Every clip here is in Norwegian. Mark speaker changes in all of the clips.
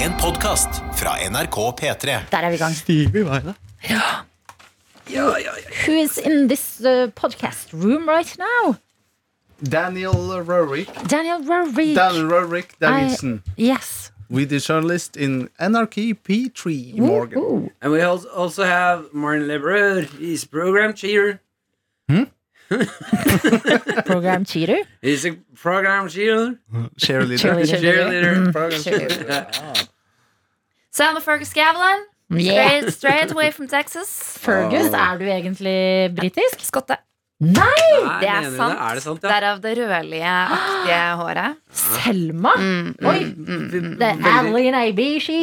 Speaker 1: En podkast fra NRK P3.
Speaker 2: Der er vi i gang.
Speaker 3: Stiger i veien, da.
Speaker 2: Who is in this uh, podcast room right now?
Speaker 3: Daniel Rorick.
Speaker 2: Daniel Rarick.
Speaker 3: Daniel Rorick Davidson.
Speaker 2: Yes.
Speaker 3: With the journalist in NRK P3 Morgan.
Speaker 2: Ooh.
Speaker 4: And we al- also have Martin Lebreur, he's program cheer.
Speaker 2: Program cheater.
Speaker 4: He's a program cheer.
Speaker 3: Cheerleader. Mm.
Speaker 2: Cheerleader.
Speaker 4: Cheerleader.
Speaker 3: Program cheerleader.
Speaker 5: Sam og Fergus Gavlan.
Speaker 2: Yeah.
Speaker 5: Straight, straight away from Texas.
Speaker 2: Fergus, er du egentlig britisk?
Speaker 5: Skotte.
Speaker 2: Nei!
Speaker 4: Nei,
Speaker 5: Det er
Speaker 4: Ah, mener du
Speaker 5: sant.
Speaker 4: Er det sant, ja?
Speaker 5: Derav det rødlige-aktige håret.
Speaker 2: Selma? Oi! Det er
Speaker 4: mm,
Speaker 2: Mm.
Speaker 4: Veldig-
Speaker 2: Adeline Ibishi.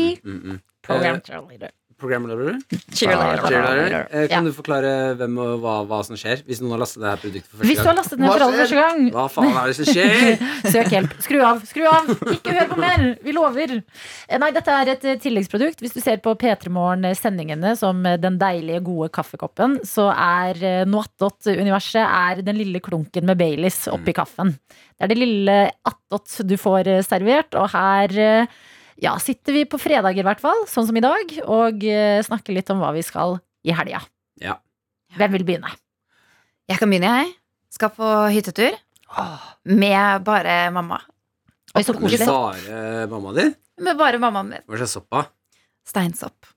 Speaker 2: Program
Speaker 4: Eh,
Speaker 2: cheerleader.
Speaker 4: Programleder? Ah,
Speaker 2: Cheerleader.
Speaker 4: Cheerleader. Eh,
Speaker 2: Ja.
Speaker 4: Kan du forklare hvem og hva, hva som skjer, hvis noen har lastet det her produktet for
Speaker 2: Hvis du
Speaker 4: første
Speaker 2: har
Speaker 4: gang?
Speaker 2: lastet ned for
Speaker 3: Hva
Speaker 2: aller første gang,
Speaker 4: Hva faen er det som skjer?
Speaker 2: Søk hjelp. Skru av, skru av! Ikke hør på mer! Vi lover. Eh, Nei, dette er et eh, tilleggsprodukt. Hvis du ser på P3 Morgen-sendingene som eh, den deilige, gode kaffekoppen, så er eh, Noattot-universet er den lille klunken med Baileys oppi kaffen. Det er det lille attot du får eh, servert, og her eh, ja, sitter vi på fredager, i hvert fall, sånn som i dag, og eh, snakker litt om hva vi skal i helga.
Speaker 4: Ja.
Speaker 2: Hvem vil begynne?
Speaker 5: Jeg kan begynne, jeg. Skal på hyttetur Ah. med bare mamma.
Speaker 2: Oi, så
Speaker 4: Ikke
Speaker 2: koselig.
Speaker 4: bare eh, mamma di?
Speaker 5: Med bare mammaen min.
Speaker 4: Hva slags soppa?
Speaker 5: Steinsopp.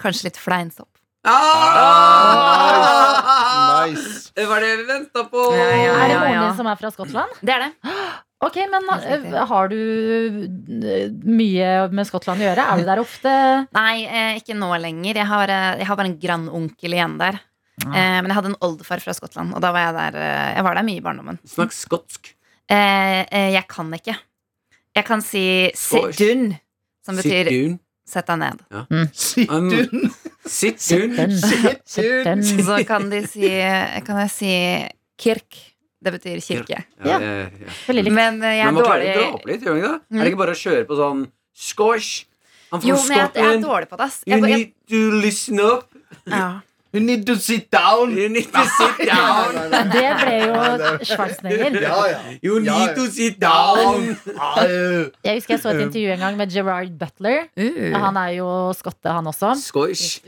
Speaker 5: Kanskje litt fleinsopp.
Speaker 4: Ah!
Speaker 3: Nice.
Speaker 4: Det var det vi venta på!
Speaker 5: Ja, ja,
Speaker 2: Er det
Speaker 5: ja.
Speaker 2: moren din som er fra Skottland?
Speaker 5: Det er det.
Speaker 2: Ok, men
Speaker 5: Helt riktig.
Speaker 2: eh, har du eh, mye med Skottland å gjøre? Er du der ofte?
Speaker 5: Nei, eh, ikke nå lenger. Jeg har, eh, jeg har bare en grandonkel igjen der.
Speaker 2: Ah.
Speaker 5: Eh, men jeg hadde en oldefar fra Skottland, og da var jeg der, eh, jeg var der mye i barndommen.
Speaker 4: Snakk skotsk.
Speaker 5: Eh, eh, jeg kan ikke. Jeg kan si
Speaker 4: Skål.
Speaker 5: 'sit dun', som betyr
Speaker 4: Situn.
Speaker 5: 'sett deg ned'.
Speaker 3: Situn.
Speaker 4: Situn.
Speaker 2: Sitten.
Speaker 5: Så kan de si Kan jeg si kirk. Det betyr kirke.
Speaker 4: Ja, ja, ja.
Speaker 2: Veldig likt.
Speaker 5: Men eh, jeg er
Speaker 4: Men man klarer ikke å
Speaker 5: dårlig
Speaker 4: dra opp litt, gjør man ikke det? Er
Speaker 5: Mm.
Speaker 4: det ikke bare å kjøre på sånn Squash! I'm
Speaker 5: Jo,
Speaker 4: from
Speaker 5: men jeg, jeg er
Speaker 4: Scotland.
Speaker 5: dårlig på det, ass.
Speaker 4: You
Speaker 5: Jeg, jeg,
Speaker 4: need to listen up.
Speaker 5: ja.
Speaker 3: You need to sit down.
Speaker 4: You need to sit down.
Speaker 3: Nei, nei, nei.
Speaker 2: Det ble jo
Speaker 3: Nei,
Speaker 2: Schwarzenegger.
Speaker 3: Ja, ja.
Speaker 4: You
Speaker 3: Ja,
Speaker 4: need
Speaker 3: ja.
Speaker 4: to sit down.
Speaker 3: Au.
Speaker 2: Jeg husker jeg så et intervju en gang med Gerard Butler.
Speaker 5: Uh.
Speaker 2: Han er jo skotte, han også.
Speaker 4: Squash.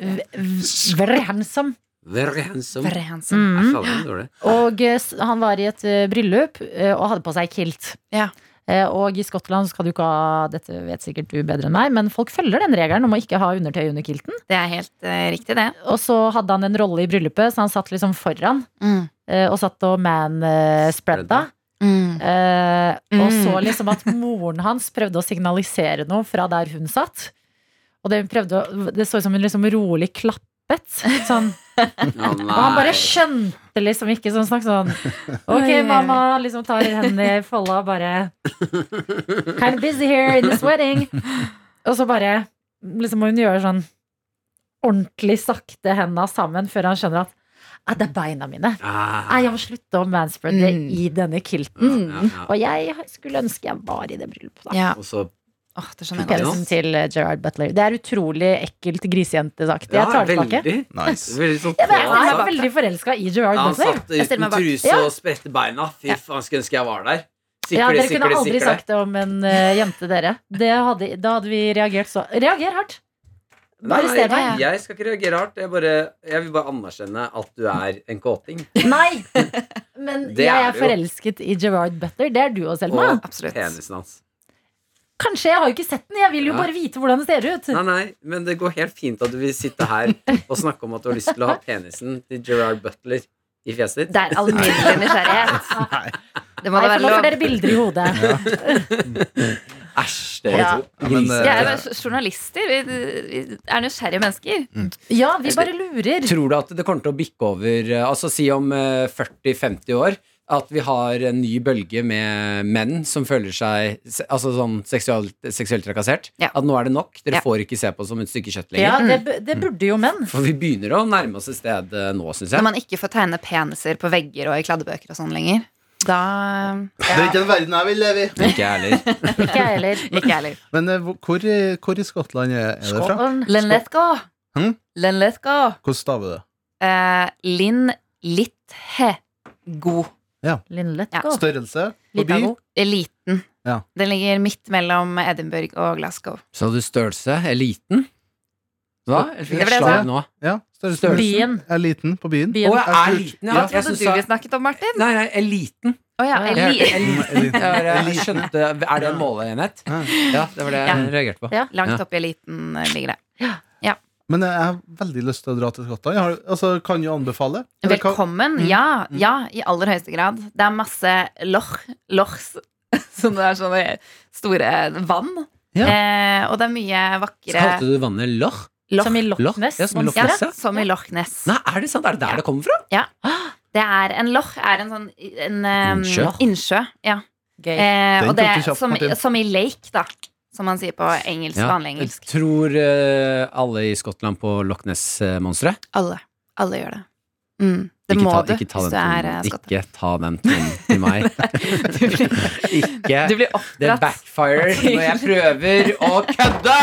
Speaker 2: Very handsome.
Speaker 4: Very handsome.
Speaker 5: Bare han som-
Speaker 2: Mm.
Speaker 4: Jeg faller dårlig.
Speaker 2: Og eh, s- han var i et eh, bryllup eh, og hadde på seg kilt.
Speaker 5: Ja.
Speaker 2: Eh, Og i Skottland skal du ikke ha Dette vet sikkert du bedre enn meg, men folk følger den regelen om å ikke ha undertøy under kilten.
Speaker 5: Det er helt eh, riktig, det.
Speaker 2: Og så hadde han en rolle i bryllupet, så han satt liksom foran
Speaker 5: Mm.
Speaker 2: eh, og satt og man-spreada. Eh, Og
Speaker 5: Mm.
Speaker 2: så liksom at moren hans prøvde å signalisere noe fra der hun satt. Og det, hun prøvde, å- det så ut som hun liksom rolig klappet. Sånn.
Speaker 4: Å,
Speaker 2: Og han bare
Speaker 4: nei.
Speaker 2: skjønte liksom ikke sånn snakk sånn
Speaker 5: Oi.
Speaker 2: Ok, mamma liksom tar hendene i folda og bare Kind of busy here in this wedding. Og så bare liksom må hun gjøre sånn ordentlig sakte henda sammen før han skjønner at «Ah, det er beina mine. Nei,
Speaker 4: Ah,
Speaker 2: jeg må slutte å manspreade
Speaker 5: Mm.
Speaker 2: i denne kilten.
Speaker 4: ja, ja.
Speaker 2: Og jeg skulle ønske jeg var i det bryllupet. da.
Speaker 5: Ja.
Speaker 4: Og så
Speaker 5: Åh, det skjønner jeg godt.
Speaker 2: Penisen til eh, Gerard Butler. Det er utrolig ekkelt grisejentesaktig. Jeg tar det tilbake.
Speaker 4: veldig.
Speaker 3: Nice.
Speaker 4: Veldig sånn
Speaker 2: Ja, men jeg
Speaker 4: Ja,
Speaker 2: er veldig forelska i Gerard
Speaker 4: Han
Speaker 2: Butler.
Speaker 4: satt
Speaker 5: Jeg stiller
Speaker 4: uten
Speaker 5: meg bak.
Speaker 4: truse
Speaker 2: Ja.
Speaker 4: og spredte beina. Fy
Speaker 5: Ja.
Speaker 4: faen, skulle ønske jeg var der.
Speaker 2: Ja,
Speaker 4: Sikle,
Speaker 2: dere kunne
Speaker 4: sikle,
Speaker 2: aldri
Speaker 4: sikle.
Speaker 2: sagt det om en eh, jente, dere. Det hadde, da hadde vi reagert så Reager hardt!
Speaker 4: Nei,
Speaker 2: Arrester
Speaker 5: meg.
Speaker 4: Jeg skal ikke reagere hardt. Jeg, bare, jeg vil bare anerkjenne at du er en kåting.
Speaker 2: Nei! Men
Speaker 4: Det
Speaker 2: jeg
Speaker 4: er
Speaker 2: er
Speaker 4: det jo.
Speaker 2: forelsket i Gerard Butler. Det er du òg, Selma.
Speaker 4: Og
Speaker 5: Absolutt.
Speaker 4: penisen hans.
Speaker 2: Kanskje. Jeg har jo ikke sett den. Jeg vil jo
Speaker 4: Ja.
Speaker 2: bare vite hvordan det ser ut.
Speaker 4: Nei, nei, men det går helt fint at du vil sitte her og snakke om at du har lyst til å ha penisen til Gerard Butler i fjeset ditt.
Speaker 5: Det er alminnelig nysgjerrighet.
Speaker 2: Ah.
Speaker 3: Nei.
Speaker 5: Det må
Speaker 2: Nei, for
Speaker 5: da være
Speaker 2: nå får
Speaker 5: lov.
Speaker 2: dere bilder i hodet.
Speaker 4: Æsj, det er
Speaker 2: Ja.
Speaker 3: men,
Speaker 4: så
Speaker 3: eh,
Speaker 4: grisete.
Speaker 5: Jeg er jo journalister. Vi, vi er nysgjerrige mennesker.
Speaker 2: Ja, vi bare lurer.
Speaker 4: eh, Tror du at det kommer til å bikke over eh, Altså si om eh, 40-50 år At vi har en ny bølge med menn Som føler seg se- Altså sånn seksuelt, seksuelt trakassert
Speaker 5: Ja.
Speaker 4: At nå er det nok, dere
Speaker 5: Ja.
Speaker 4: får ikke se på oss som et stykke kjøtt
Speaker 2: Ja,
Speaker 4: lenger
Speaker 3: Mm.
Speaker 2: det, bu- det burde jo menn.
Speaker 4: For vi begynner å nærme oss et sted eh, nå, synes
Speaker 5: Når
Speaker 4: jeg
Speaker 5: man ikke får tegne peniser på vegger og i kladdebøker og sånn lenger. Da
Speaker 3: Det er ikke den verden jeg vil leve i.
Speaker 4: Ikke jeg heller
Speaker 2: Ikke jeg heller.
Speaker 5: Ikke jeg heller.
Speaker 3: Men eh, hvor, hvor i- hvor i Skottland er, er det fra?
Speaker 2: Skål.
Speaker 5: Linn Lethgo.
Speaker 3: Hm?
Speaker 5: Linn Lethgo.
Speaker 3: Hvordan staver du det?
Speaker 5: Eh, Linn Lithe. Eh, God.
Speaker 3: Ja.
Speaker 2: Linn
Speaker 5: Ja.
Speaker 2: Letgo.
Speaker 3: Størrelse på by.
Speaker 2: Litago.
Speaker 5: Det er liten.
Speaker 3: Ja.
Speaker 5: Den ligger midt mellom Edinburgh og Glasgow.
Speaker 4: Så hadde du størrelse, er liten. Hva? Jeg fikk
Speaker 5: Det var det jeg
Speaker 4: slag
Speaker 5: sa.
Speaker 4: nå.
Speaker 3: Ja, størrelsen
Speaker 2: Byen.
Speaker 3: er liten på byen.
Speaker 2: Byen.
Speaker 4: Å, jeg er liten, ja.
Speaker 5: Hva
Speaker 4: Jeg
Speaker 5: trodde
Speaker 4: synes
Speaker 5: du vi
Speaker 4: jeg-
Speaker 5: snakket om, Martin?
Speaker 4: Nei, nei, eliten.
Speaker 5: Å ja,
Speaker 2: Ja.
Speaker 5: Eli-
Speaker 3: Eliten.
Speaker 4: Jeg bare skjønte Er det en måleenhet?
Speaker 3: Ja.
Speaker 4: Ja, det var det jeg reagerte på.
Speaker 2: Ja.
Speaker 5: Langt opp i eliten eh, ligger det.
Speaker 3: Men jeg har veldig lyst til å dra til Skottland. Jeg har, altså, kan jo anbefale. Eller hva-
Speaker 5: Velkommen. Ja, ja, i aller høyeste grad. Det er masse loch, lochs, som det er sånne store vann.
Speaker 4: Ja.
Speaker 5: Eh, og det er mye vakre
Speaker 4: Kalte du vannet Loch?
Speaker 5: loch.
Speaker 2: Som i
Speaker 4: Loch?
Speaker 2: Loch Ness.
Speaker 4: Ja, som i Loch
Speaker 5: Ja,
Speaker 4: Ness, ja.
Speaker 5: som i Loch Ness.
Speaker 4: Nei, er det sant? Er det der det kommer fra?
Speaker 5: Det er en loch er en sånn en, eh,
Speaker 4: Innsjø.
Speaker 5: innsjø ja.
Speaker 2: Gøy.
Speaker 5: Eh,
Speaker 3: Den
Speaker 5: og det
Speaker 3: tok
Speaker 5: er
Speaker 3: du kjapt,
Speaker 5: som,
Speaker 3: Martin.
Speaker 5: som i lake, da. Som man sier på engelsk.
Speaker 4: Ja.
Speaker 5: Vanlig engelsk.
Speaker 4: Tror eh, alle i Skottland på Loch Ness-monsteret?
Speaker 5: Alle. Alle gjør det. Mm. Det
Speaker 4: Ikke
Speaker 5: må
Speaker 4: ta,
Speaker 5: du
Speaker 4: ikke ta
Speaker 5: hvis
Speaker 4: den
Speaker 5: du er
Speaker 4: tonen.
Speaker 5: eh, skotte.
Speaker 4: Ikke ta den tonen til meg.
Speaker 5: Du blir,
Speaker 4: Ikke
Speaker 5: du blir
Speaker 4: Det
Speaker 5: oppdratt.
Speaker 4: backfire når jeg prøver å kødde!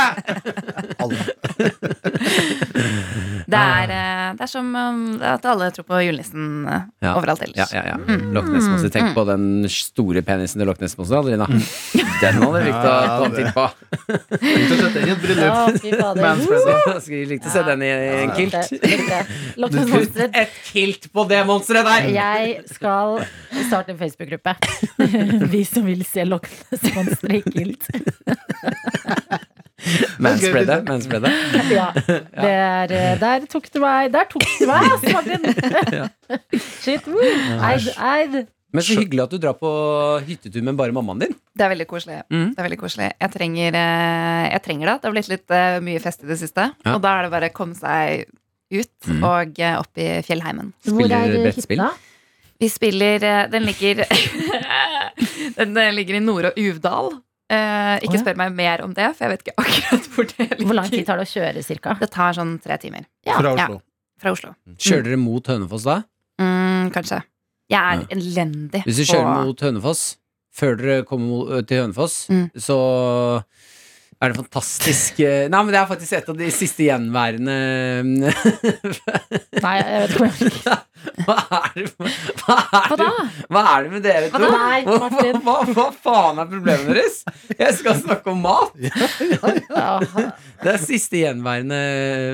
Speaker 5: Det er, eh, det er som um, at alle tror på julenissen eh,
Speaker 4: Ja.
Speaker 5: overalt ellers.
Speaker 4: Ja, ja, ja. Loch Ness-monster. Tenk på den store penisen til Loch Ness-monsteret, Adelina. Den hadde jeg likt å
Speaker 3: Ja,
Speaker 4: komme til på.
Speaker 3: Tenk å sette den i et
Speaker 2: Å,
Speaker 3: bryllup.
Speaker 2: fy fader.
Speaker 3: Manspreading.
Speaker 4: Jeg skulle likt å se den i en kilt.
Speaker 2: Det- det- det. Loch Ness
Speaker 4: Putt
Speaker 2: Monster.
Speaker 4: et kilt på det monsteret der!
Speaker 2: Jeg skal starte en Facebook-gruppe. Vi som vil se Loch Ness Monster i kilt.
Speaker 4: Manspreadet. manspreadet.
Speaker 2: Ja. Det er, eh, der tok du meg. Der tok du meg, ass, Martin! Shit. woo. Eid, eid.
Speaker 4: Men så hyggelig at du drar på hyttetur med bare mammaen din.
Speaker 5: Det er veldig koselig.
Speaker 4: Mm.
Speaker 5: Det er veldig koselig. Jeg, trenger, eh, jeg trenger det. Det har blitt litt eh, mye fest i det siste.
Speaker 4: Ja.
Speaker 5: Og da er det bare å komme seg ut
Speaker 4: Mm.
Speaker 5: og eh, opp i fjellheimen.
Speaker 2: Hvor
Speaker 4: Spiller
Speaker 2: er
Speaker 4: brettspill?
Speaker 2: hytta?
Speaker 5: Vi spiller eh, Den ligger Den eh, ligger i Nord- og Uvdal. Eh,
Speaker 2: Å,
Speaker 5: ikke
Speaker 2: ja.
Speaker 5: spør meg mer om det, for jeg vet ikke akkurat hvor det ligger.
Speaker 2: Hvor lang tid tar det å kjøre, cirka?
Speaker 5: Det tar sånn tre timer
Speaker 3: Fra Oslo.
Speaker 5: fra Oslo.
Speaker 4: Kjører dere mot Hønefoss da?
Speaker 5: Mm, kanskje. Jeg er
Speaker 4: Ja.
Speaker 5: elendig
Speaker 4: Hvis du
Speaker 5: på-
Speaker 4: kjører mot Hønefoss, før dere kommer mo- ø, til Hønefoss,
Speaker 5: Mm.
Speaker 4: så er det fantastisk eh, Nei, men det er faktisk et av de siste gjenværende
Speaker 2: Nei, jeg vet ikke. hvor jeg-
Speaker 4: Hva er det Hva er
Speaker 2: Hva
Speaker 4: det,
Speaker 2: da?
Speaker 4: hva er det med dere to?
Speaker 2: Hva da? Nei,
Speaker 4: Hva, hva,
Speaker 2: Martin.
Speaker 4: hva, hva faen er problemet deres? Jeg skal snakke om mat!
Speaker 2: Ja.
Speaker 4: Det er siste gjenværende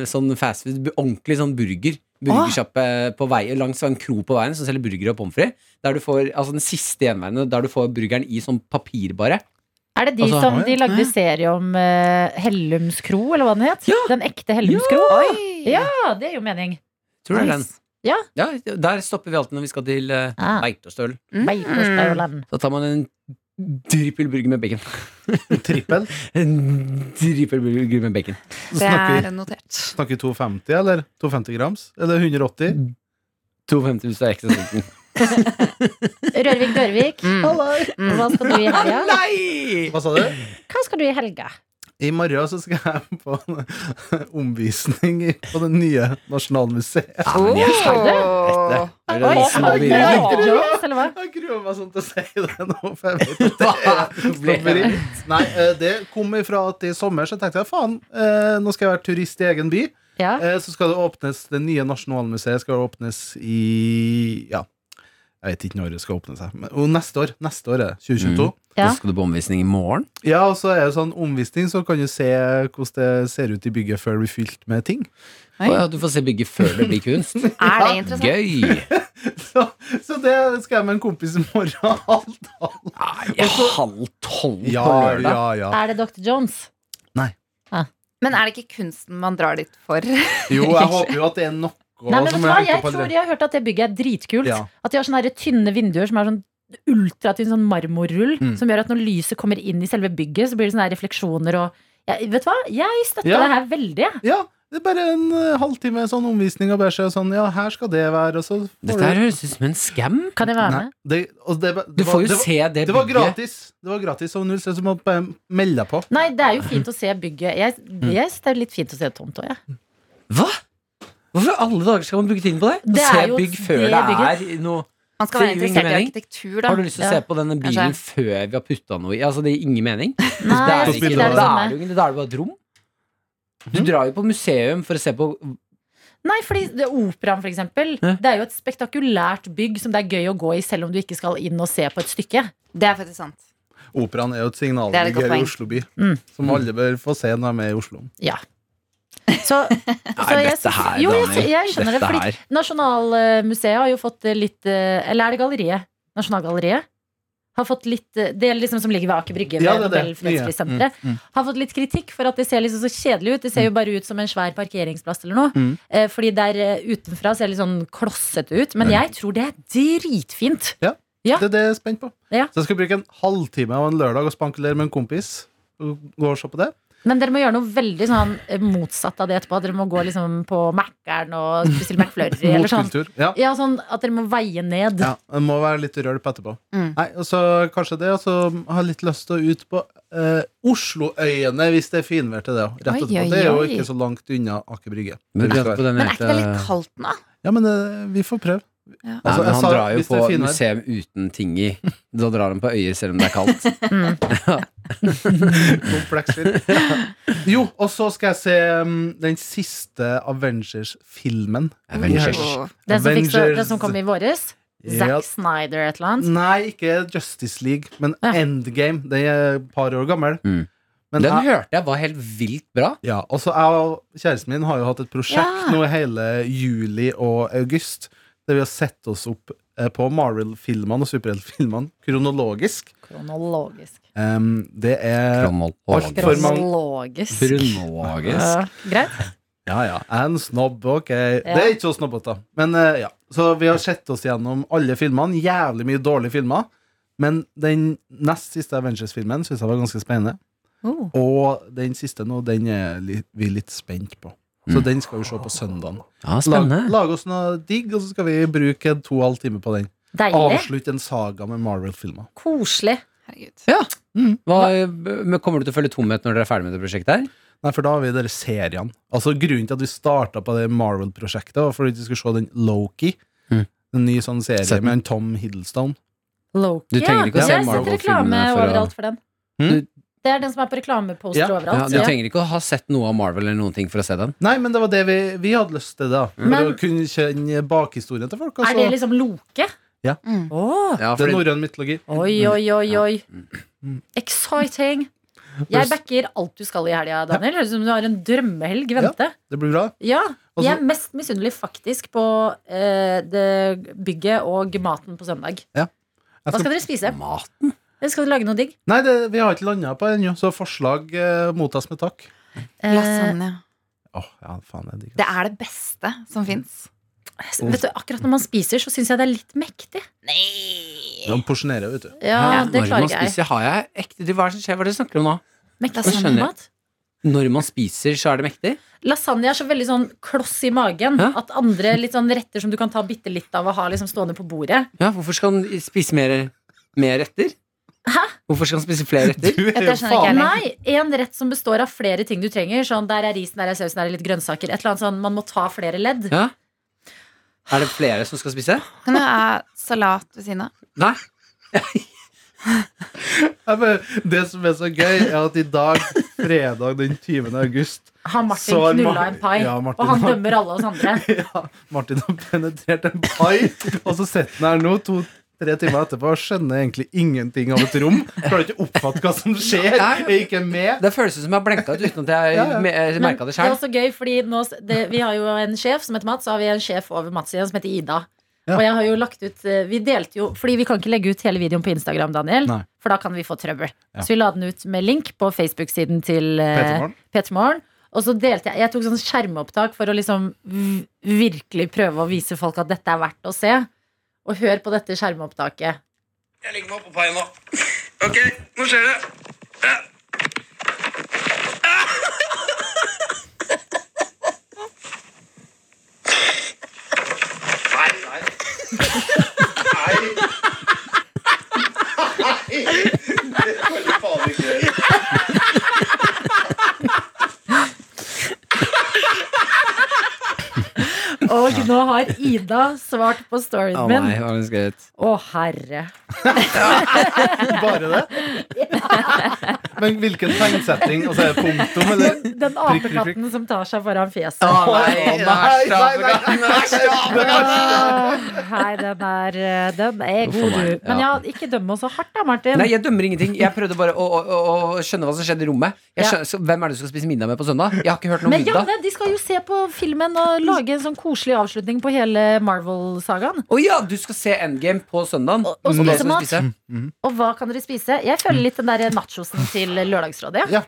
Speaker 4: sånn fast food, bu- ordentlig sånn burger. Burgersjappe på vei, langs en kro på veien som selger burger og pommes frites. Der du får, altså den siste gjenværende der du får burgeren i sånn papir, bare.
Speaker 2: Er det de
Speaker 4: Altså,
Speaker 2: som
Speaker 3: ja.
Speaker 2: de lagde serie om eh, Hellums kro, eller hva den het? Den ekte Hellums kro?
Speaker 5: Oi!
Speaker 2: Ja, det gir jo mening.
Speaker 4: Tror du det er den?
Speaker 5: Nice.
Speaker 2: Ja.
Speaker 4: Der stopper vi alltid når vi skal til eh,
Speaker 2: Ah.
Speaker 4: Beitostølen.
Speaker 5: Mm.
Speaker 2: Beitostølen.
Speaker 4: Da tar man en trippel burger med bacon.
Speaker 3: Trippel.
Speaker 4: En trippel burger med bacon.
Speaker 3: Så
Speaker 5: Det
Speaker 3: snakker
Speaker 5: er notert.
Speaker 3: snakker 250, eller? 250 grams? Eller 180?
Speaker 4: 250 hvis du er ekstra sulten.
Speaker 2: Rørvik Dørvik,
Speaker 5: Mm.
Speaker 2: hva skal du i helga?
Speaker 4: Nei!
Speaker 3: Hva sa du?
Speaker 2: Hva skal du i helga?
Speaker 3: I morgen så skal jeg på en omvisning i- på det nye Nasjonalmuseet.
Speaker 4: Ja, men jeg skal
Speaker 5: Åh.
Speaker 4: det. Det er
Speaker 2: Oi,
Speaker 4: den små
Speaker 2: er det
Speaker 4: burgeren.
Speaker 2: Grave Jokes, eller hva?
Speaker 3: Jeg gruer meg sånn til å si det nå, for jeg vet at det
Speaker 4: Hva
Speaker 3: er snobberi. Nei, eh, det kom ifra at i sommer så tenkte jeg faen, eh, nå skal jeg være turist i egen by.
Speaker 2: Ja.
Speaker 3: Eh, Så skal det åpnes, det nye Nasjonalmuseet skal åpnes i Ja, jeg vet ikke når det skal åpne seg. Men, og neste år. Neste år er det. 2022.
Speaker 2: Ja.
Speaker 4: Så skal du på omvisning i morgen.
Speaker 3: Ja, og så er det sånn omvisning, så kan du se hvordan det ser ut i bygget før det blir fylt med ting.
Speaker 5: Oi.
Speaker 4: Å ja, du får se bygget før det blir kunst.
Speaker 5: Er det interessant?
Speaker 4: Gøy!
Speaker 3: Så, så det skal jeg med en kompis i morgen. Alt, alt.
Speaker 4: Nei, halv tolv
Speaker 3: Ja,
Speaker 4: på lørdag.
Speaker 3: ja, ja.
Speaker 2: Er det Dr. Jones?
Speaker 5: Men er det ikke kunsten man drar dit for?
Speaker 3: Jo, jeg håper jo at det er noe
Speaker 2: Nei, men vet
Speaker 3: som
Speaker 2: du hva?
Speaker 3: henger
Speaker 2: Jeg
Speaker 3: på
Speaker 2: tror
Speaker 3: alle-
Speaker 2: de har hørt at det bygget er dritkult.
Speaker 3: Ja.
Speaker 2: At de har sånne her tynne vinduer som er sånn ultratynn sånn marmorrull,
Speaker 3: Mm.
Speaker 2: som gjør at når lyset kommer inn i selve bygget, så blir det sånne her refleksjoner og ja, Vet du hva? Jeg støtter
Speaker 3: Ja.
Speaker 2: det her veldig, jeg.
Speaker 3: Ja, det er bare en eh, halvtime sånn omvisning og bare se sånn, ja, her skal det være, og så får
Speaker 4: Dette her høres ut som en scam.
Speaker 2: Kan jeg være
Speaker 3: Nei,
Speaker 2: med?
Speaker 3: det, og det, det,
Speaker 4: Du
Speaker 3: var-
Speaker 4: får jo
Speaker 3: det, var-
Speaker 4: se det
Speaker 3: Det var
Speaker 4: bygget.
Speaker 3: gratis. Det var gratis, og null stress. Du må bare melde deg på.
Speaker 2: Nei, det er jo fint å se bygget. Jeg,
Speaker 3: Mm.
Speaker 2: jeg synes det er litt fint å se det tomt òg, jeg.
Speaker 4: Hva? Hvorfor i alle dager skal man bruke tiden på det?
Speaker 2: Det
Speaker 4: se
Speaker 2: er jo
Speaker 4: bygg før
Speaker 2: det
Speaker 4: det
Speaker 2: bygget.
Speaker 4: er noe
Speaker 5: Man skal være
Speaker 4: Det gir jo
Speaker 5: interessert i
Speaker 4: ingen mening.
Speaker 5: arkitektur, da.
Speaker 4: Har du lyst til å
Speaker 2: Ja.
Speaker 4: se på denne bilen
Speaker 5: Kanskje.
Speaker 4: før vi har putta noe i? Altså, det gir ingen mening.
Speaker 2: Nei, jeg
Speaker 4: det
Speaker 2: sånn
Speaker 4: er
Speaker 2: synes ikke
Speaker 4: ikke noe.
Speaker 2: det er det
Speaker 4: Da
Speaker 2: samme.
Speaker 3: Mhm.
Speaker 4: er det jo ikke- da er det bare et rom. Du drar jo på museum for å se på
Speaker 2: Nei, fordi det, Operaen, for eksempel.
Speaker 4: Ja.
Speaker 2: Det er jo et spektakulært bygg som det er gøy å gå i, selv om du ikke skal inn og se på et stykke.
Speaker 5: Det er faktisk sant.
Speaker 3: Operaen er jo et
Speaker 5: Det er et
Speaker 3: signalbygg
Speaker 5: godt
Speaker 3: her i
Speaker 5: poeng.
Speaker 3: Oslo by,
Speaker 2: Mm.
Speaker 3: som alle bør få se når de er i Oslo.
Speaker 2: Ja. Så, så jeg
Speaker 4: dette
Speaker 2: syns-
Speaker 4: her,
Speaker 2: jo, jeg,
Speaker 4: Daniel,
Speaker 2: jeg skjønner det.
Speaker 4: dette her.
Speaker 2: Fordi Nasjonalmuseet har jo fått eh, litt eh, Eller er det galleriet? Nasjonalgalleriet? Har fått litt eh, Det er liksom som ligger ved Aker Brygge, ved
Speaker 3: Ja, det er det.
Speaker 2: Nobel fredsprissenteret.
Speaker 3: Mm, mm.
Speaker 2: Har fått litt kritikk for at det ser liksom så kjedelig ut. Det ser jo bare ut som en svær parkeringsplass eller noe.
Speaker 3: Mm.
Speaker 2: Eh, Fordi der eh, utenfra ser det litt sånn klossete ut. Men jeg tror det er dritfint. Ja.
Speaker 3: Det er det jeg er spent på.
Speaker 2: Ja.
Speaker 3: Så jeg skal bruke en halvtime av en lørdag og spankulere med en kompis. Og gå og se på det.
Speaker 2: Men dere må gjøre noe veldig sånn eh, motsatt av det etterpå. Dere må gå liksom på Mækkern og bestille McFlurry eller sånn.
Speaker 3: Motkultur. Ja.
Speaker 2: Ja, sånn at dere må veie ned.
Speaker 3: Ja, det må være litt rølp etterpå.
Speaker 5: Mm.
Speaker 3: Nei, og så kanskje det, og så har jeg litt lyst til å ut på eh, Osloøyene, hvis det er finvær til det. og Rett
Speaker 5: Oi,
Speaker 3: etterpå.
Speaker 5: oi,
Speaker 3: Det er jo
Speaker 5: oi.
Speaker 3: ikke så langt unna Aker Brygge.
Speaker 4: Men
Speaker 3: Det vi skal
Speaker 4: på
Speaker 3: være.
Speaker 4: den
Speaker 5: Men er ikke det
Speaker 4: helt,
Speaker 5: litt
Speaker 4: eh,
Speaker 5: kaldt nå?
Speaker 3: Ja, men eh, vi får prøve.
Speaker 5: Ja.
Speaker 4: Nei,
Speaker 3: Altså,
Speaker 4: men
Speaker 3: jeg
Speaker 4: han
Speaker 3: sa
Speaker 4: drar jo
Speaker 3: hvis det
Speaker 4: på
Speaker 3: er finvær.
Speaker 4: museum uten ting i. Da drar han på øyer selv om det er kaldt.
Speaker 2: Mm.
Speaker 3: Kompleks film. Jo, og så skal jeg se mm, den siste Avengers-filmen.
Speaker 4: Avengers.
Speaker 5: Åh.
Speaker 2: Den, som fikk så,
Speaker 3: Avengers.
Speaker 2: den som kom i våres?
Speaker 3: Ja.
Speaker 2: Zack Snyder et eller annet?
Speaker 3: Nei, ikke Justice League, men
Speaker 2: Ja.
Speaker 3: Endgame. Den er et par år gammel.
Speaker 4: Mm.
Speaker 3: Men
Speaker 4: Den
Speaker 3: jeg,
Speaker 4: hørte jeg var helt vilt bra.
Speaker 3: ja, også jeg og kjæresten min har jo hatt et prosjekt
Speaker 5: Ja.
Speaker 3: nå i hele juli og august, der vi har sett oss opp eh, på Marvel-filmene og superheltfilmene kronologisk.
Speaker 2: Kronologisk.
Speaker 3: Em, det er
Speaker 4: Kronologisk.
Speaker 3: Eh, For mange-
Speaker 2: Kronologisk.
Speaker 4: Kronologisk.
Speaker 2: Ja, greit.
Speaker 3: Ja, ja. Jeg er en snobb, ok. Det er ikke så snobbete. Men eh, ja. Så vi har sett oss gjennom alle filmene. Jævlig mye dårlige filmer. Men den nest siste Avengers-filmen syns jeg var ganske spennende.
Speaker 5: Oh.
Speaker 3: Og den siste nå, den er li- vi litt spent på. Så
Speaker 4: Mm.
Speaker 3: den skal vi se på søndagen.
Speaker 4: Ja,
Speaker 3: Lag,
Speaker 4: spennende.
Speaker 3: lage oss noe digg, og så skal vi bruke en to og en halv time på den.
Speaker 2: Deilig.
Speaker 3: Avslutte en saga med Marvel-filmer.
Speaker 2: Koselig.
Speaker 5: Herregud.
Speaker 4: Hva, men kommer du til å følge tomhet når dere er ferdig med det prosjektet her?
Speaker 3: Nei, for da har vi de der seriene. Altså Grunnen til at vi starta på det Marvel-prosjektet, var fordi vi skulle se den Loki.
Speaker 4: Mm.
Speaker 3: En ny sånn serie
Speaker 4: Sett den.
Speaker 3: med en Tom Hiddlestone.
Speaker 2: Loki,
Speaker 4: Du trenger ikke å
Speaker 2: ja.
Speaker 4: se
Speaker 2: Jeg har sett reklame
Speaker 4: Marvel-filmene for å- Hm?
Speaker 2: overalt for den.
Speaker 3: Mm.
Speaker 2: Det er den som er på reklameposter
Speaker 3: Ja,
Speaker 4: Ja,
Speaker 2: overalt.
Speaker 4: du
Speaker 2: Ja,
Speaker 4: trenger ikke å ha sett noe av Marvel eller noen ting for å se den.
Speaker 3: Nei, men det var det vi, vi hadde lyst til, da. For
Speaker 2: Men-
Speaker 3: å kunne kjenne bakhistorien til folk.
Speaker 2: Er
Speaker 3: Altså.
Speaker 2: det liksom Loke?
Speaker 3: Ja.
Speaker 5: Mm.
Speaker 2: Åh.
Speaker 4: Ja,
Speaker 3: Det er
Speaker 4: fordi,
Speaker 3: norrøn mytologi.
Speaker 2: Oi, oi, oi, oi.
Speaker 3: Mm.
Speaker 2: Exciting. Jeg backer alt du skal i helga, Daniel. Høres ut som du har en drømmehelg i vente.
Speaker 3: Det blir bra.
Speaker 2: Ja.
Speaker 3: Og så-
Speaker 2: Jeg er mest misunnelig faktisk på eh, det bygget og maten på søndag.
Speaker 3: Jeg
Speaker 2: Hva
Speaker 3: skal-
Speaker 2: skal dere spise?
Speaker 4: mat.
Speaker 2: Eller skal dere lage noe digg?
Speaker 3: Nei, det, vi har ikke landa på det ennå, så forslag eh, mottas med takk.
Speaker 2: Eh,
Speaker 5: Lasagne.
Speaker 3: Åh, ja, faen, jeg digger
Speaker 5: Det er det beste
Speaker 4: Mm.
Speaker 5: som fins.
Speaker 2: Eh, vet du, akkurat når man spiser, så syns jeg det er litt mektig.
Speaker 5: Nei!
Speaker 3: De porsjonerer, vet du.
Speaker 2: Ja,
Speaker 4: Hæ?
Speaker 2: det
Speaker 4: Ah, Når man
Speaker 2: klarer ikke jeg.
Speaker 4: spiser, har jeg ekte Hva er det som skjer? Hva er det du snakker om nå?
Speaker 2: Mektig
Speaker 4: skjønner jeg.
Speaker 2: mat.
Speaker 4: Når man spiser, så er det mektig?
Speaker 2: Lasagne er så veldig sånn kloss i magen
Speaker 4: Hæ?
Speaker 2: at andre litt sånn retter som du kan ta bitte litt av og ha liksom stående på bordet
Speaker 4: Ja, hvorfor skal han spise mer, mer retter?
Speaker 2: Hæ?
Speaker 4: Hvorfor skal han spise flere retter?
Speaker 3: Du
Speaker 5: Dette skjønner ikke jeg.
Speaker 2: Nei, en rett som består av flere ting du trenger. Sånn, Der er risen, der er sausen, der er litt grønnsaker. Et eller annet sånn, Man må ta flere ledd.
Speaker 4: Ja. Er det flere som skal spise?
Speaker 5: Kan du ha salat ved siden av?
Speaker 4: Nei.
Speaker 3: Ja, men Det som er så gøy, er at i dag, fredag den 20. august
Speaker 2: Har Martin
Speaker 3: Så er Mar-
Speaker 2: knulla en pai,
Speaker 3: Ja, Martin
Speaker 2: og han
Speaker 3: har-
Speaker 2: dømmer alle oss andre.
Speaker 3: Ja, Martin har penetrert en pai, og så sitter han her nå to-tre timer etterpå og skjønner egentlig ingenting av et rom. Klarer ikke å oppfatte hva som skjer. Er ikke med.
Speaker 4: Det føles som jeg har blenka ut uten at jeg
Speaker 3: Ja, ja.
Speaker 4: me- eh,
Speaker 2: Men
Speaker 4: merket det
Speaker 2: er
Speaker 4: sjøl.
Speaker 2: også gøy, fordi nå, s- det, vi har jo en sjef som heter Mats, og har vi en sjef over Mats igjen som heter Ida.
Speaker 3: Ja.
Speaker 2: Og jeg har jo lagt ut eh, Vi delte jo Fordi vi kan ikke legge ut hele videoen på Instagram, Daniel.
Speaker 3: Nei.
Speaker 2: For da kan vi få trøbbel.
Speaker 3: Ja.
Speaker 2: Så vi la den ut med link på Facebook-siden til eh,
Speaker 3: Petermorgen.
Speaker 2: P3 Morgen. Og så delte jeg Jeg tok sånn skjermopptak for å liksom v- virkelig prøve å vise folk at dette er verdt å se. Og hør på dette skjermopptaket.
Speaker 6: Jeg legger meg oppå paien nå. Ok, nå skjer det. Ja. Nei, nei. Nei. Nei. Det får du faen ikke gjøre.
Speaker 2: Og nå har Ida svart på storyen min.
Speaker 4: det var ganske gøyt.
Speaker 2: Å, herre.
Speaker 3: Bare det? Men hvilken tegnsetting? Og så er det punktum, eller?
Speaker 2: Den, den
Speaker 3: prikk, prikk.
Speaker 2: apekatten som tar seg foran fjeset.
Speaker 4: Å, nei,
Speaker 3: Å,
Speaker 4: nei, nei, nei.
Speaker 2: Ah, Nei, den er, eh, den er
Speaker 4: Uff a
Speaker 2: god,
Speaker 4: meg,
Speaker 2: du. Men ja,
Speaker 4: ja.
Speaker 2: ikke døm oss så hardt da, Martin.
Speaker 4: Nei, jeg dømmer ingenting. Jeg prøvde bare å, å, å, å skjønne hva som skjedde i rommet. Jeg
Speaker 2: Ja.
Speaker 4: skjønner, så, hvem er det du skal spise middag med på søndag? Jeg har ikke hørt noe om
Speaker 2: Men
Speaker 4: middag.
Speaker 2: Janne, de skal jo se på filmen og lage en sånn koselig avslutning på hele Marvel-sagaen.
Speaker 4: Å ja, du skal se Endgame på søndagen.
Speaker 2: Og- og
Speaker 4: Så det
Speaker 2: spise
Speaker 4: skal
Speaker 2: mat.
Speaker 4: vi spise.
Speaker 2: Og hva kan dere spise? Jeg føler litt den der nachosen til Lørdagsrådet. Ja.
Speaker 3: Ja.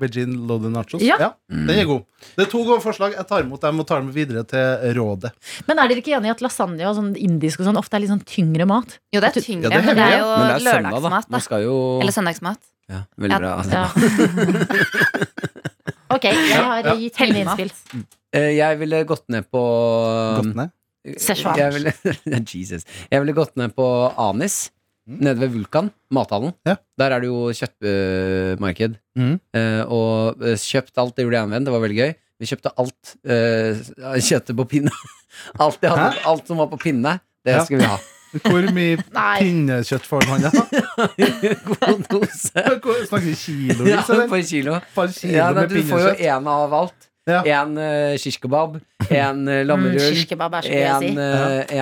Speaker 3: Vegin loaded nachos.
Speaker 2: Ja.
Speaker 3: Ja. Den er god. Det er to gode forslag. Jeg tar imot dem og tar dem videre til rådet.
Speaker 2: Men er dere ikke enig i at lasagne og sånn indisk og sånn ofte er litt sånn tyngre mat?
Speaker 5: Jo, det er
Speaker 2: Jeg
Speaker 5: tyngre,
Speaker 3: ja, det er
Speaker 5: men det
Speaker 3: heavy,
Speaker 5: er jo
Speaker 4: Men det er søndag, da.
Speaker 5: lørdagsmat.
Speaker 4: Man
Speaker 5: Da.
Speaker 4: skal jo
Speaker 5: Eller søndagsmat.
Speaker 4: ja, Veldig bra. altså.
Speaker 2: Ja. Ok, jeg har
Speaker 3: Ja, ja.
Speaker 2: gitt mine
Speaker 5: Helgemat.
Speaker 2: innspill.
Speaker 4: Eh, Jeg ville gått ned på um,
Speaker 3: Godt ned.
Speaker 2: Szechuan.
Speaker 4: Jeg ville, Jesus. Jeg ville gått ned på Anis. Nede ved Vulkan, mathallen.
Speaker 3: Mm. Ja.
Speaker 4: Der er det jo kjøttmarked.
Speaker 3: Mhm.
Speaker 4: Eh, og eh, kjøpt alt det Julian Venn. Det var veldig gøy. Vi kjøpte alt eh, kjøttet på pinne. Alt, jeg hadde, alt som var på pinne, det
Speaker 3: Ja.
Speaker 4: skal vi ha.
Speaker 3: Hvor mye
Speaker 2: Nei.
Speaker 3: pinnekjøtt får man da?
Speaker 4: God dose.
Speaker 3: Hvor- Snakker vi
Speaker 4: Ja,
Speaker 3: kilovis,
Speaker 4: på
Speaker 3: eller?
Speaker 4: en kilo.
Speaker 3: Et par kilo
Speaker 4: Ja, da,
Speaker 3: med
Speaker 4: du får jo
Speaker 3: pinnekjøtt.
Speaker 4: én av alt.
Speaker 3: Ja.
Speaker 4: Én uh, shish kebab, én uh,
Speaker 2: Mm,
Speaker 4: lammerull,
Speaker 2: shish kebab er så gøy å si.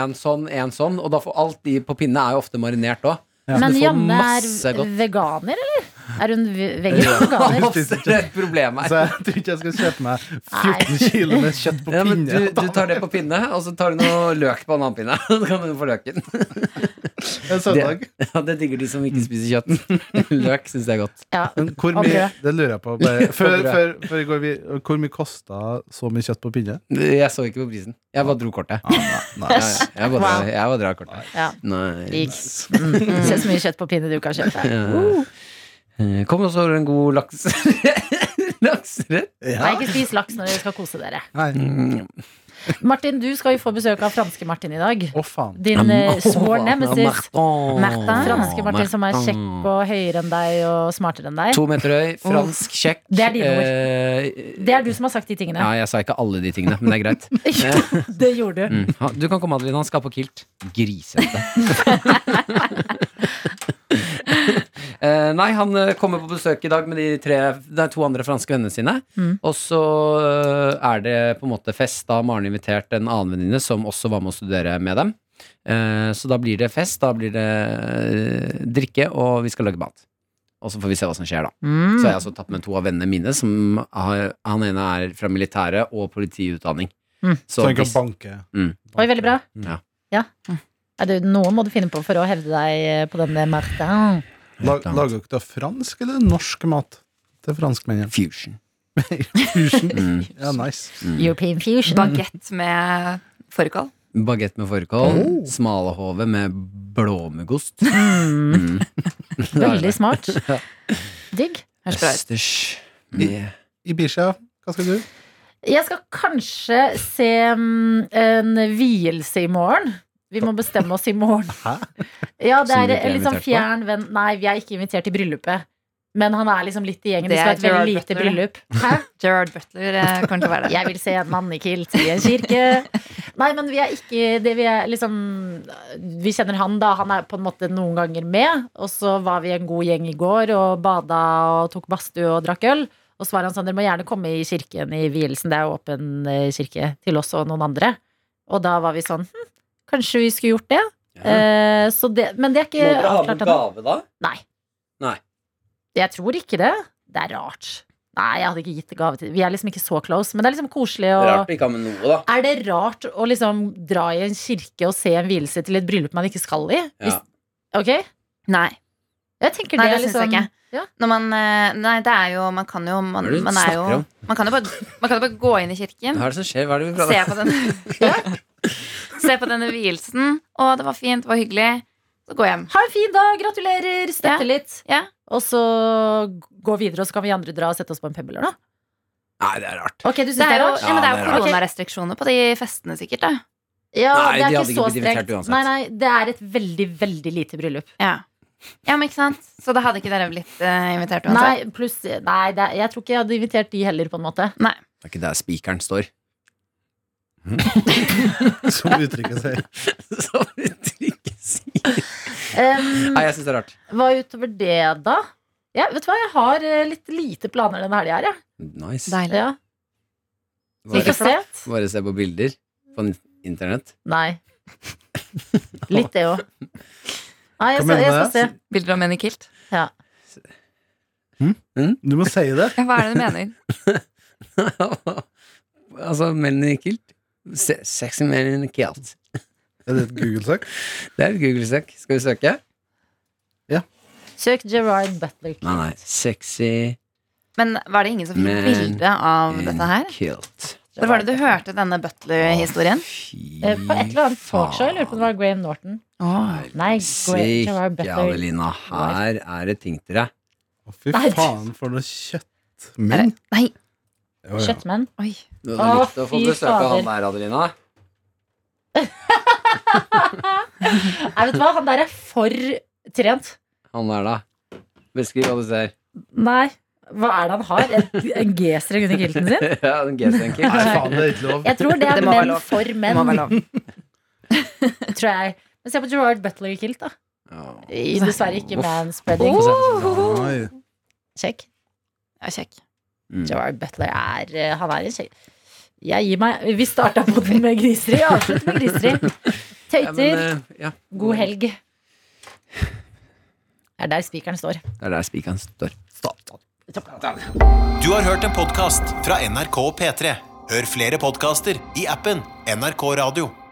Speaker 4: én sånn, én sånn. Og da får alt de på pinne er jo ofte marinert òg.
Speaker 3: Ja.
Speaker 2: Men
Speaker 4: Du får
Speaker 2: Janne
Speaker 4: masse
Speaker 2: er
Speaker 4: godt.
Speaker 2: veganer, eller? Er hun ve- vegger eller veganer?
Speaker 3: Nei,
Speaker 4: Det er et problem her.
Speaker 3: Så jeg tror ikke jeg skal kjøpe meg 14 kilo med kjøtt på
Speaker 4: Ja, men
Speaker 3: pinne.
Speaker 4: du, du tar det på pinne, og så tar du noe løk på en annen pinne. Så kan du få løken.
Speaker 3: en søndag.
Speaker 4: Ja, det digger de som ikke spiser kjøtt. Løk syns jeg er godt.
Speaker 2: Ja.
Speaker 3: Men hvor
Speaker 2: Og
Speaker 3: mye,
Speaker 2: brød.
Speaker 3: det lurer jeg på. Bare. Før,
Speaker 4: Og brød.
Speaker 3: før, før går vi, hvor mye kosta så mye kjøtt på pinne?
Speaker 4: Jeg så ikke på prisen. Jeg bare dro kortet.
Speaker 3: Nei.
Speaker 4: Ja, ja, Jeg bare,
Speaker 2: Wow.
Speaker 4: jeg bare drar kortet.
Speaker 2: Ja.
Speaker 4: Nei.
Speaker 2: Digg. Mm. Se så mye kjøtt på pinne du kan kjøpe.
Speaker 4: Ja. Eh, Kom også over en god laks. Lakserett.
Speaker 2: Nei, ikke spis laks når dere skal kose dere.
Speaker 3: Nei.
Speaker 2: Martin, du skal jo få besøk av franske Martin i dag.
Speaker 3: Å, faen.
Speaker 2: Din eh, sworn nemesis.
Speaker 4: Martin.
Speaker 2: Franske Martin som er kjekk og høyere enn deg og smartere enn deg.
Speaker 4: To meter høy, fransk, kjekk.
Speaker 2: Det er dine ord.
Speaker 4: Eh,
Speaker 2: Det er du som har sagt de
Speaker 4: Ja,
Speaker 2: tingene.
Speaker 4: jeg sa ikke alle de tingene, men det er greit.
Speaker 2: Det gjorde du.
Speaker 4: Mm. Ha- Du kan komme, Adeline. Han skal på kilt. Grisete. Eh, nei, han eh, kommer på besøk i dag med de tre, det er to andre franske vennene sine.
Speaker 2: Mm.
Speaker 4: Og så eh, er det på en måte fest. Da har Maren invitert en annen venninne som også var med å studere med dem. Eh, så da blir det fest, da blir det eh, drikke, og vi skal lage mat. Og så får vi se hva som skjer, da.
Speaker 2: Mm.
Speaker 4: Så har jeg også tatt med to av vennene mine. Som har, han ene er fra militæret og politiutdanning.
Speaker 2: Mm.
Speaker 3: Så han kan
Speaker 4: hvis-
Speaker 3: banke.
Speaker 4: Mm.
Speaker 2: Oi, veldig bra.
Speaker 4: Ja.
Speaker 2: Ja. Nei, du, Noe må du finne på for å hevde deg eh, på den med Martin.
Speaker 3: La- Lager dere da fransk eller norsk mat til franskmennene?
Speaker 4: Fusion.
Speaker 3: Fusion.
Speaker 4: Mm.
Speaker 3: Ja, nice.
Speaker 2: European fusion.
Speaker 5: Bagett med fårikål.
Speaker 4: Bagett med fårikål.
Speaker 3: Oh.
Speaker 4: Smalahove med blåmuggost. Mm.
Speaker 2: Veldig smart. Digg.
Speaker 5: Høres bra ut.
Speaker 4: Østers med
Speaker 3: Ibisha, hva skal du?
Speaker 2: Jeg skal kanskje se mm, en vielse i morgen. Vi må bestemme oss i morgen.
Speaker 3: Hæ?
Speaker 2: Ja, det
Speaker 4: Som
Speaker 2: er
Speaker 4: du ikke er
Speaker 2: en litt sånn
Speaker 4: invitert på?
Speaker 2: fjern venn Nei, vi er ikke invitert til bryllupet. Men han er liksom litt i gjengen. Vi
Speaker 5: Det
Speaker 2: skal ha
Speaker 5: er
Speaker 2: et veldig
Speaker 5: Gerard
Speaker 2: lite
Speaker 5: Butler.
Speaker 2: bryllup. Hæ?
Speaker 5: Gerard Butler eh, kommer til å være der.
Speaker 2: Jeg vil se en mann i kilt i en kirke. Nei, men vi er ikke det vi er liksom Vi kjenner han, da. Han er på en måte noen ganger med. Og så var vi en god gjeng i går og bada og tok badstue og drakk øl. Og så var han sånn Dere må gjerne komme i kirken i vielsen. Det er jo åpen eh, kirke til oss og noen andre. Og da var vi sånn hm, Kanskje vi skulle gjort det? Eh, så det men det er ikke avklart ennå.
Speaker 4: da?
Speaker 2: Nei.
Speaker 4: Nei.
Speaker 2: Jeg tror ikke det. Det er rart. Nei, jeg hadde ikke gitt gave til Vi er liksom ikke så close, men det er liksom koselig å
Speaker 4: å ikke ha med noe, da.
Speaker 2: er det rart å liksom dra i en kirke og se en vielse til et bryllup man ikke skal i? Hvis, Ok?
Speaker 5: Nei,
Speaker 2: Jeg tenker
Speaker 5: Nei,
Speaker 2: det,
Speaker 5: det
Speaker 2: er
Speaker 5: syns
Speaker 2: liksom
Speaker 5: jeg ikke.
Speaker 2: Ja.
Speaker 5: Når man, eh, nei, det er jo Man kan jo
Speaker 4: Hva
Speaker 5: Man,
Speaker 4: er det du
Speaker 5: man er jo
Speaker 4: snakker om?
Speaker 5: man kan jo, bare, man kan jo bare gå inn i kirken,
Speaker 4: Hva er det som skjer? Hva er det vi
Speaker 5: se
Speaker 4: prater om?
Speaker 5: på den Se på denne vielsen. Å, det var fint, det var hyggelig. Så gå hjem.
Speaker 2: Ha en fin dag, gratulerer, støtte
Speaker 5: Ja.
Speaker 2: litt.
Speaker 5: Ja.
Speaker 2: Og så gå videre, og så kan vi andre dra og sette oss på en pebble, da.
Speaker 4: Nei, det er rart.
Speaker 2: Ok, du synes
Speaker 5: Det er jo,
Speaker 2: rart?
Speaker 5: ja, men det
Speaker 4: Ja, det
Speaker 5: er jo
Speaker 4: er
Speaker 2: rart.
Speaker 5: koronarestriksjoner på de festene, sikkert. Da.
Speaker 2: Ja,
Speaker 4: Nei,
Speaker 2: det er
Speaker 4: de
Speaker 2: ikke
Speaker 4: hadde
Speaker 2: så
Speaker 4: ikke blitt invitert
Speaker 2: strengt.
Speaker 4: uansett.
Speaker 2: Nei, nei, det er et veldig, veldig lite bryllup.
Speaker 5: Ja. ja, men ikke sant? Så da hadde ikke dere blitt eh, invitert uansett?
Speaker 2: Nei, pluss Nei, det er, jeg tror ikke jeg hadde invitert de heller, på en måte.
Speaker 5: Nei.
Speaker 4: Det er ikke der spikeren står.
Speaker 3: Som uttrykket sier.
Speaker 4: Så vi trykker sier.
Speaker 2: Em,
Speaker 4: Nei, jeg syns det er rart.
Speaker 2: hva utover det, da? Ja, vet du hva, Jeg har eh, litt lite planer denne helga her.
Speaker 4: Nice.
Speaker 5: Deilig.
Speaker 2: Ja. Ja. Vi
Speaker 4: Bare,
Speaker 2: får se.
Speaker 4: bare se på bilder på n- internett.
Speaker 2: Nei. Litt det òg. Nei, jeg
Speaker 3: Hva
Speaker 2: skal,
Speaker 3: mener
Speaker 2: jeg
Speaker 3: du
Speaker 2: skal se.
Speaker 5: Bilder av menn i kilt.
Speaker 3: Du må si det.
Speaker 5: Ja, hva er det du mener?
Speaker 4: altså, menn i kilt. Se, sexy men in kilt.
Speaker 3: Er det et Google-søk?
Speaker 4: Det er et Google-søk. Skal vi søke?
Speaker 2: Søk Gerard Butler.
Speaker 4: Nei, nei. Sexy
Speaker 5: Men var det ingen som fikk
Speaker 4: Men-
Speaker 5: bilde av dette her?
Speaker 4: kilt.
Speaker 5: Hvor var det du hørte denne Butler-historien?
Speaker 4: Fy
Speaker 2: Eh, På et eller annet talkshow. Jeg lurer på om det var Graham Norton. Nei, Gra- Gerard
Speaker 4: Sikke,
Speaker 2: Butler.
Speaker 4: Adelina. Her er det ting til deg.
Speaker 3: Å, fy
Speaker 2: Nei.
Speaker 3: faen, for noe
Speaker 5: Er
Speaker 3: kjøttmenn.
Speaker 5: det- Nei,
Speaker 3: Jo, jo.
Speaker 2: Kjøttmenn.
Speaker 5: oi.
Speaker 4: Du
Speaker 2: hadde Å, likt å få fy besøk av han
Speaker 4: der, Adelina.
Speaker 2: Nei, vet du hva? Han der er for trent.
Speaker 4: Han der, da. Beskriv hva du ser.
Speaker 2: Nei. Hva er det han har? En, en G-streng under kilten sin?
Speaker 4: ja, den G-strengen.
Speaker 3: Nei, faen, det er ikke lov.
Speaker 2: Jeg tror det er
Speaker 5: Det må være
Speaker 2: menn
Speaker 5: lov.
Speaker 2: for
Speaker 5: Det
Speaker 2: menn,
Speaker 5: må være lov.
Speaker 2: tror jeg. Men se på Gerard Butler i kilt, da. I- Dessverre ikke
Speaker 4: Uff.
Speaker 2: manspreading.
Speaker 3: Nei.
Speaker 2: Sjekk.
Speaker 5: Ja, kjekk.
Speaker 2: Gerard Butler er eh, Han er en kjekk Jeg gir meg. Vi starta på den med griseri. Avslutt med griseri.
Speaker 4: Ja, men,
Speaker 2: Tøyter.
Speaker 4: eh, ja.
Speaker 2: God helg. Det er der spikeren står.
Speaker 4: Det er der spikeren står.
Speaker 1: Du har hørt en podcast fra NRK P3. Hør flere podcaster i appen NRK Radio.